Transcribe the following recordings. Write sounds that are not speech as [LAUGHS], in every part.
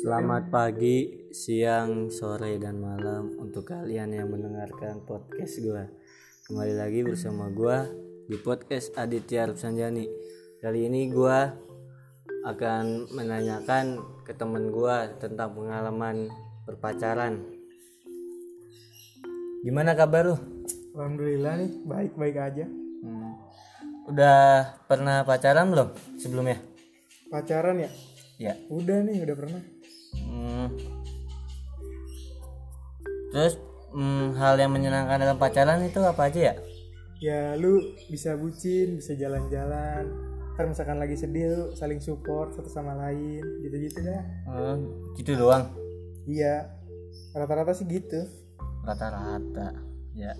Selamat pagi, siang, sore, dan malam untuk kalian yang mendengarkan podcast gua. Kembali lagi bersama gua di podcast Aditya Rupsanjani. Kali ini gua akan menanyakan ke temen gua tentang pengalaman berpacaran. Gimana kabar lu? Alhamdulillah nih baik-baik aja. Udah pernah pacaran belum sebelumnya? Pacaran ya? Ya. Udah nih, udah pernah. Hmm. Terus hmm, hal yang menyenangkan dalam pacaran itu apa aja ya? Ya lu bisa bucin, bisa jalan-jalan. Ntar misalkan lagi sedih lu saling support satu sama lain, gitu-gitu dah. Hmm, gitu doang Iya. Rata-rata sih gitu. rata-rata. Ya.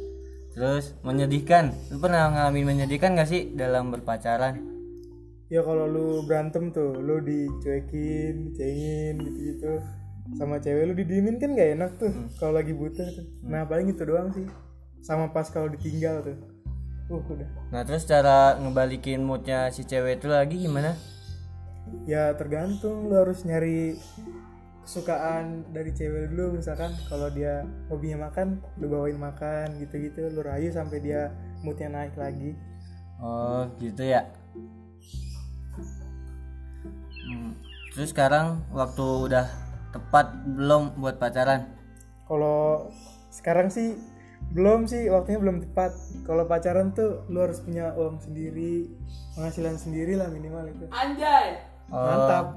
Terus menyedihkan. Lu pernah ngalamin menyedihkan gak sih dalam berpacaran? Ya kalau lu berantem tuh, lu dicuekin, dicengin, gitu-gitu. Sama cewek lu didiemin kan gak enak tuh kalau lagi butuh tuh. Nah, paling itu doang sih. Sama pas kalau ditinggal tuh. Uh, udah. Nah terus cara ngebalikin moodnya si cewek itu lagi gimana? ya tergantung lo harus nyari kesukaan dari cewek dulu misalkan kalau dia hobinya makan lu bawain makan gitu-gitu lu rayu sampai dia moodnya naik lagi Oh gitu ya. Hmm, Terus sekarang waktu udah tepat belum buat pacaran? kalau sekarang sih belum sih waktunya belum tepat kalau pacaran tuh lu harus punya uang sendiri penghasilan sendiri lah minimal itu Oh, mantap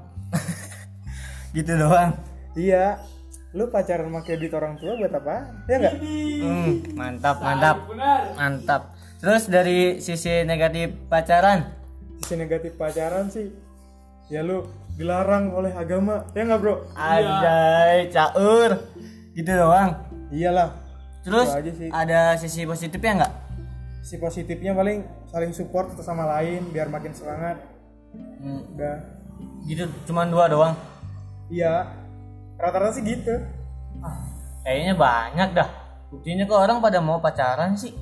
gitu doang. iya lu pacaran pakai duit orang tua buat apa ya enggak Hmm, mantap, mantap. Mantap. Terus dari sisi negatif pacaran, sisi negatif pacaran sih ya lu dilarang oleh agama ya nggak bro Iya. anjay, caur. Gitu doang. iyalah Terus Itu aja sih. ada sisi positifnya nggak? si positifnya paling saling support satu sama lain biar makin semangat Hmm, udah gitu cuman dua doang. iya rata-rata sih gitu Ah, Kayaknya banyak dah. Buktinya kok orang pada mau pacaran sih.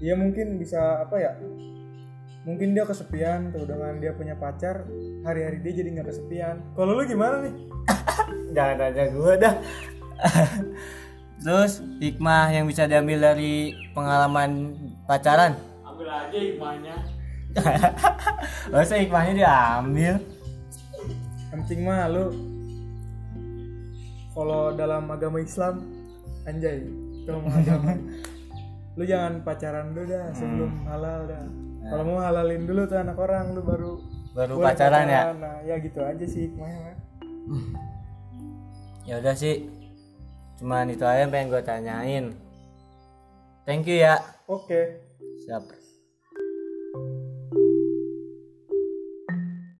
iya mungkin bisa apa ya mungkin dia kesepian tuh dengan dia punya pacar hari-hari dia jadi nggak kesepian kalau lu gimana nih Jangan tanya gue dah. [LAUGHS] Terus hikmah yang bisa diambil dari pengalaman pacaran. Ambil aja hikmahnya. [LAUGHS] Masa hikmahnya diambil? yang penting mah lu kalau dalam agama Islam anjay dalam agama lu jangan pacaran dulu dah sebelum halal dah kalau mau halalin dulu tuh anak orang lu baru Baru boleh pacaran ya? nah ya gitu aja sih hikmahnya mah. ya udah sih cuman itu aja yang pengen gue tanyain thank you ya oke siap